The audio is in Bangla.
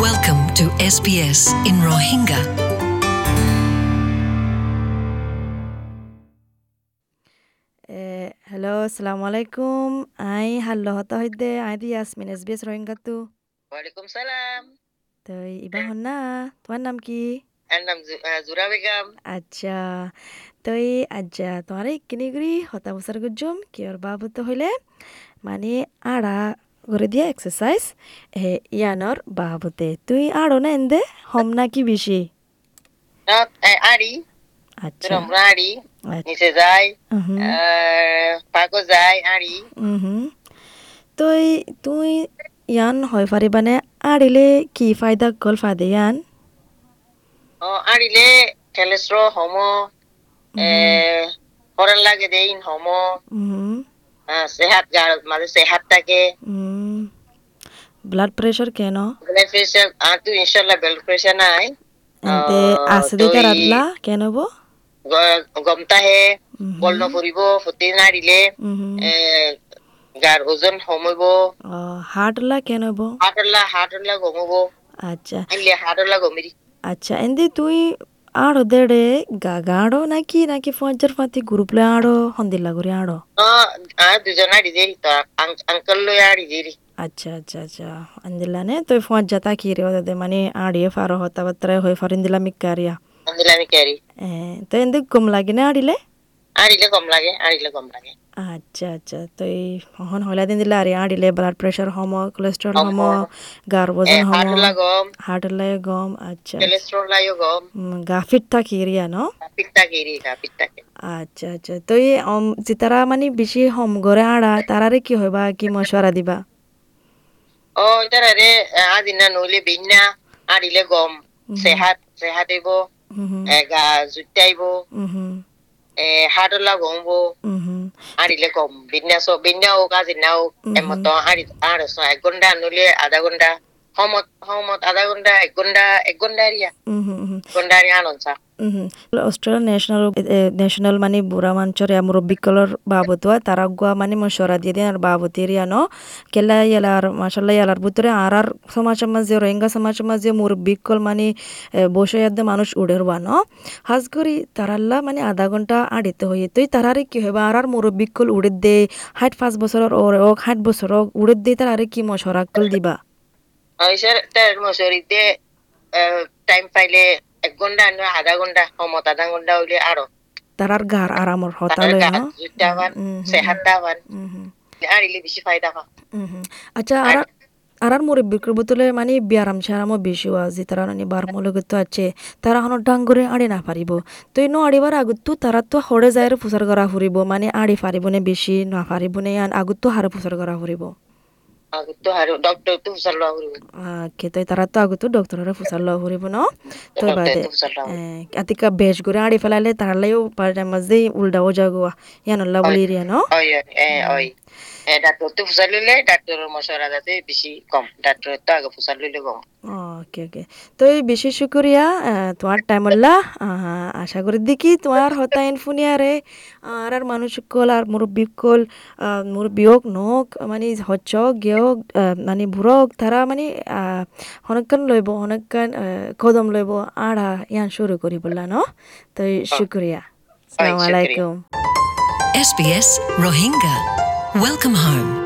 Welcome to SBS in Rohingya. Hello আসসালামু আলাইকুম আই হাল্লো হতা হইতে আই দি আসমিন এস বিএস রোহিঙ্গা তু ওয়ালাইকুমসালাম তো ইবা হন না তোমার নাম কি আর নাম জু- আহ, জুরা বেগম আচ্ছা তই আজ্জা তোমার কিনি করি হতা বসার গুজম কিয়র বাবত হইলে মানে আড়া করে দিয়া এক্সারসাইজ হে ইয়ানর বাবতে তুই আড়ো না এন্দে হম না কি বেশি না, আহ, আড়ি আচ্ছা জুরা আমরা আড়ি আচ্ছা নিচে যাই হুম আর পাকো যাই আড়ি হুম তই তুই ইয়ান হয় পারিবানে আড়িলে কি ফায়দা গল ফাদে ইয়ান ও আড়িলে টেলেস্ট্র হম Eh, হরেন লাগে দেইন হম হুম আহ, সেহাত গাড় মাঝে সেহাত থাকে হুম ব্লাড প্রেশার কেন ব্লাড প্রেশার আর তুই ইনশাল্লাহ ব্লাড প্রেশার নাই এতে আহ, আছে দিকে তই রাতলা কেন বো গ- গমতা হে হুম, বল নফুরিব ফুটি নাড়িলে হুম। Eh, গার ওজন সমইব অ, হার্টলা কেন বো হাটলা হাটলা গমব আচ্ছা আনলে হাটলা গমেরি আচ্ছা এন্দি তুই আড়ো দেড়ে গা গাড়ো নাকি নাকি ফঞ্চার ফাঁতি গ্রুপলে আড়ো হন্দিল্লা করে আড়ো আহ, আর দুজনা ডিজেরি তো আঙ্কল লই আর ডিজেরি আচ্ছা আচ্ছা আচ্ছা আন্দিল্লা নে তুই ফঞ্চা তাকি রে ওদে মানে আড়িয়ে ফারো হতা বাত্রায় হয়ে ফারিন দিলা মিকারিয়া আনলে আমি ক্যারি এ, তো এন্দি কম লাগে না আড়িলে আড়িলে কম লাগে আড়িলে কম লাগে আচ্ছা আচ্ছা তই হন হলা দিন দিলা আরে আড়িলে ব্লাড প্রেশার হম কোলেস্ট্রল হম গার ওজন হম হাটলা গম হার্ট লাগে গম আচ্ছা কোলেস্ট্রল লাইও গম উম, গা ফিট থাকি এরিয়া ন পিত্তা গিরি গা পিত্তা কে আচ্ছা আচ্ছা তই অম যেতারা মানে বেশি হম গরে আড়া তারারে কি হইবা কি মশওয়ারা দিবা ও ইতারা রে আজ না নইলে বিন্না আড়িলে গম সেহাত সেহাত দিব হুম হুম, গা জুটাইব হুম হুম, হাটলা গমব হুম হুম, আড়িলে কম বিন্না সব বিন্না হোক আজ না হোক এমত আড়ি আর এক ঘন্টা নইলে আধা ঘন্টা সমত সমত আধা ঘন্টা এক ঘন্টা এক ঘন্টা এরিয়া হুম হুম, হুম, ঘন্টা এরিয়া আনছা হুম হুম। অস্ট্রেলিয়া ন্যাশনাল ন্যাশনাল মানে বুড়া মাঞ্চর ইয়া মুরব্বিকলর বাবতুয়া তারা গুয়া মানে মশওয়ারা দিয়ে দিয়ে আর বাবতি এরিয়া ন কেলা ইয়ালার মাশাল্লাহ ইয়ালার ভিতরে আর আর সমাজ মাঝে রোহিঙ্গা সমাজ মাঝে মুরব্বিকল মানে এ, বসে ইয়াদে মানুষ উড়ের বা ন হাজ করি তারাল্লা মানে আধা ঘন্টা আড়িতে হইয়ে তুই তারারে কি হইবা আর আর মুরব্বিকল উড়ে দে ষাট পাঁচ বছরের ওর হোক ষাট বছর হোক উড়ে দে তারারে কি মশওয়ারা কল দিবা অইছৰ তাৰ মছৰিতে টাইম পাইলে এক ঘণ্টা নহয় আধা ঘণ্টা সমত আধা ঘণ্টা হ'লে আৰু তারার গার আরামর তাৰ হতালয় ন গাত জুটামান চেহাতামান হুম হুম আৰিলে বেছি ফাইদা পাওঁ হুম হুম। আচ্ছা আর আর আর মোরে বিক্রি বোতলে মানে ব্যারাম ছাড়ামও বেশি আছে তারা অনেক বার মূলগত আছে তারা হন ডাং করে আড়ে না পারিব তো ন আড়িবার আগত তো তারা তো হরে যায় প্রচার করা ফুরিব মানে আড়ি পারিব নে বেশি না পারিব নে আন আগত তো হারে প্রচার করা ফুরিব আগতো আৰু ডক্টৰটো ফুচাৰ লোৱা কৰিব কে তো তারা তো আগত ডক্টরের প্রচার লওয়া ফুরিব ন তো বাদে ডক্টৰটো ফুচাৰ লোৱা আতিকা বেশ করে আড়ি ফেলালে তারা লাইও পারে মাঝে উল্টাও জাগুয়া ইয়ানল্লা বলি রিয়া ন হয় হয় ডাক্টৰটো ফুচাৰ ল'লে ডাক্টৰৰ মছৰা যাতে বেছি কম ডাক্টৰটো আগে ফুচাৰ ল'লে কম ওকে ওকে তো এই বিশেষ শুক্রিয়া আহ, তোমার টাইম আল্লাহ আশা করি দেখি তোমার হতায়ন ফুনিয়ারে আর আর মানুষ কল আর মুরব্বী কল আহ, মুরব্বী হোক নক মানে হচ্ছ গেয়ক আহ, মানে ভুরক তারা মানে অনেকক্ষণ লইব অনেকক্ষণ আহ, কদম লইব আড়া ইয়ান শুরু করি বললা ন তো এই শুক্রিয়া সালাম আলাইকুম SBS Rohingya. Welcome home.